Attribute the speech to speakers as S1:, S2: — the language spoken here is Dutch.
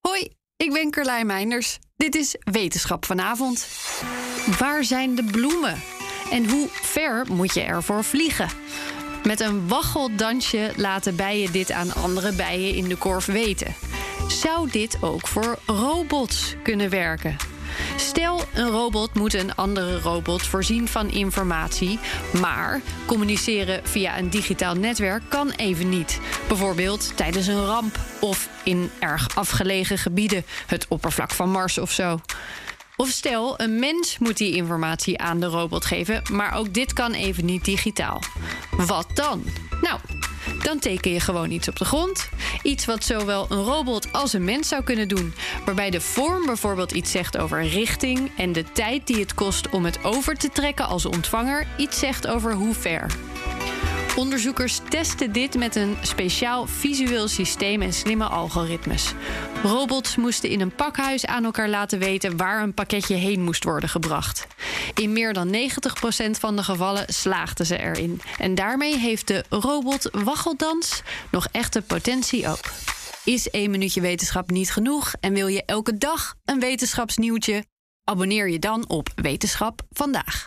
S1: Hoi, ik ben Carlijn Meinders. Dit is Wetenschap vanavond. Waar zijn de bloemen? En hoe ver moet je ervoor vliegen? Met een waggeldansje laten bijen dit aan andere bijen in de korf weten. Zou dit ook voor robots kunnen werken? Stel, een robot moet een andere robot voorzien van informatie, maar communiceren via een digitaal netwerk kan even niet. Bijvoorbeeld tijdens een ramp of in erg afgelegen gebieden, het oppervlak van Mars of zo. Of stel, een mens moet die informatie aan de robot geven, maar ook dit kan even niet digitaal. Wat dan? Nou, dan teken je gewoon iets op de grond. Iets wat zowel een robot als een mens zou kunnen doen. Waarbij de vorm bijvoorbeeld iets zegt over richting en de tijd die het kost om het over te trekken als ontvanger iets zegt over hoe ver. Onderzoekers testen dit met een speciaal visueel systeem en slimme algoritmes. Robots moesten in een pakhuis aan elkaar laten weten waar een pakketje heen moest worden gebracht. In meer dan 90% van de gevallen slaagden ze erin. En daarmee heeft de robot waggeldans nog echte potentie ook. Is één minuutje wetenschap niet genoeg en wil je elke dag een wetenschapsnieuwtje? Abonneer je dan op Wetenschap vandaag.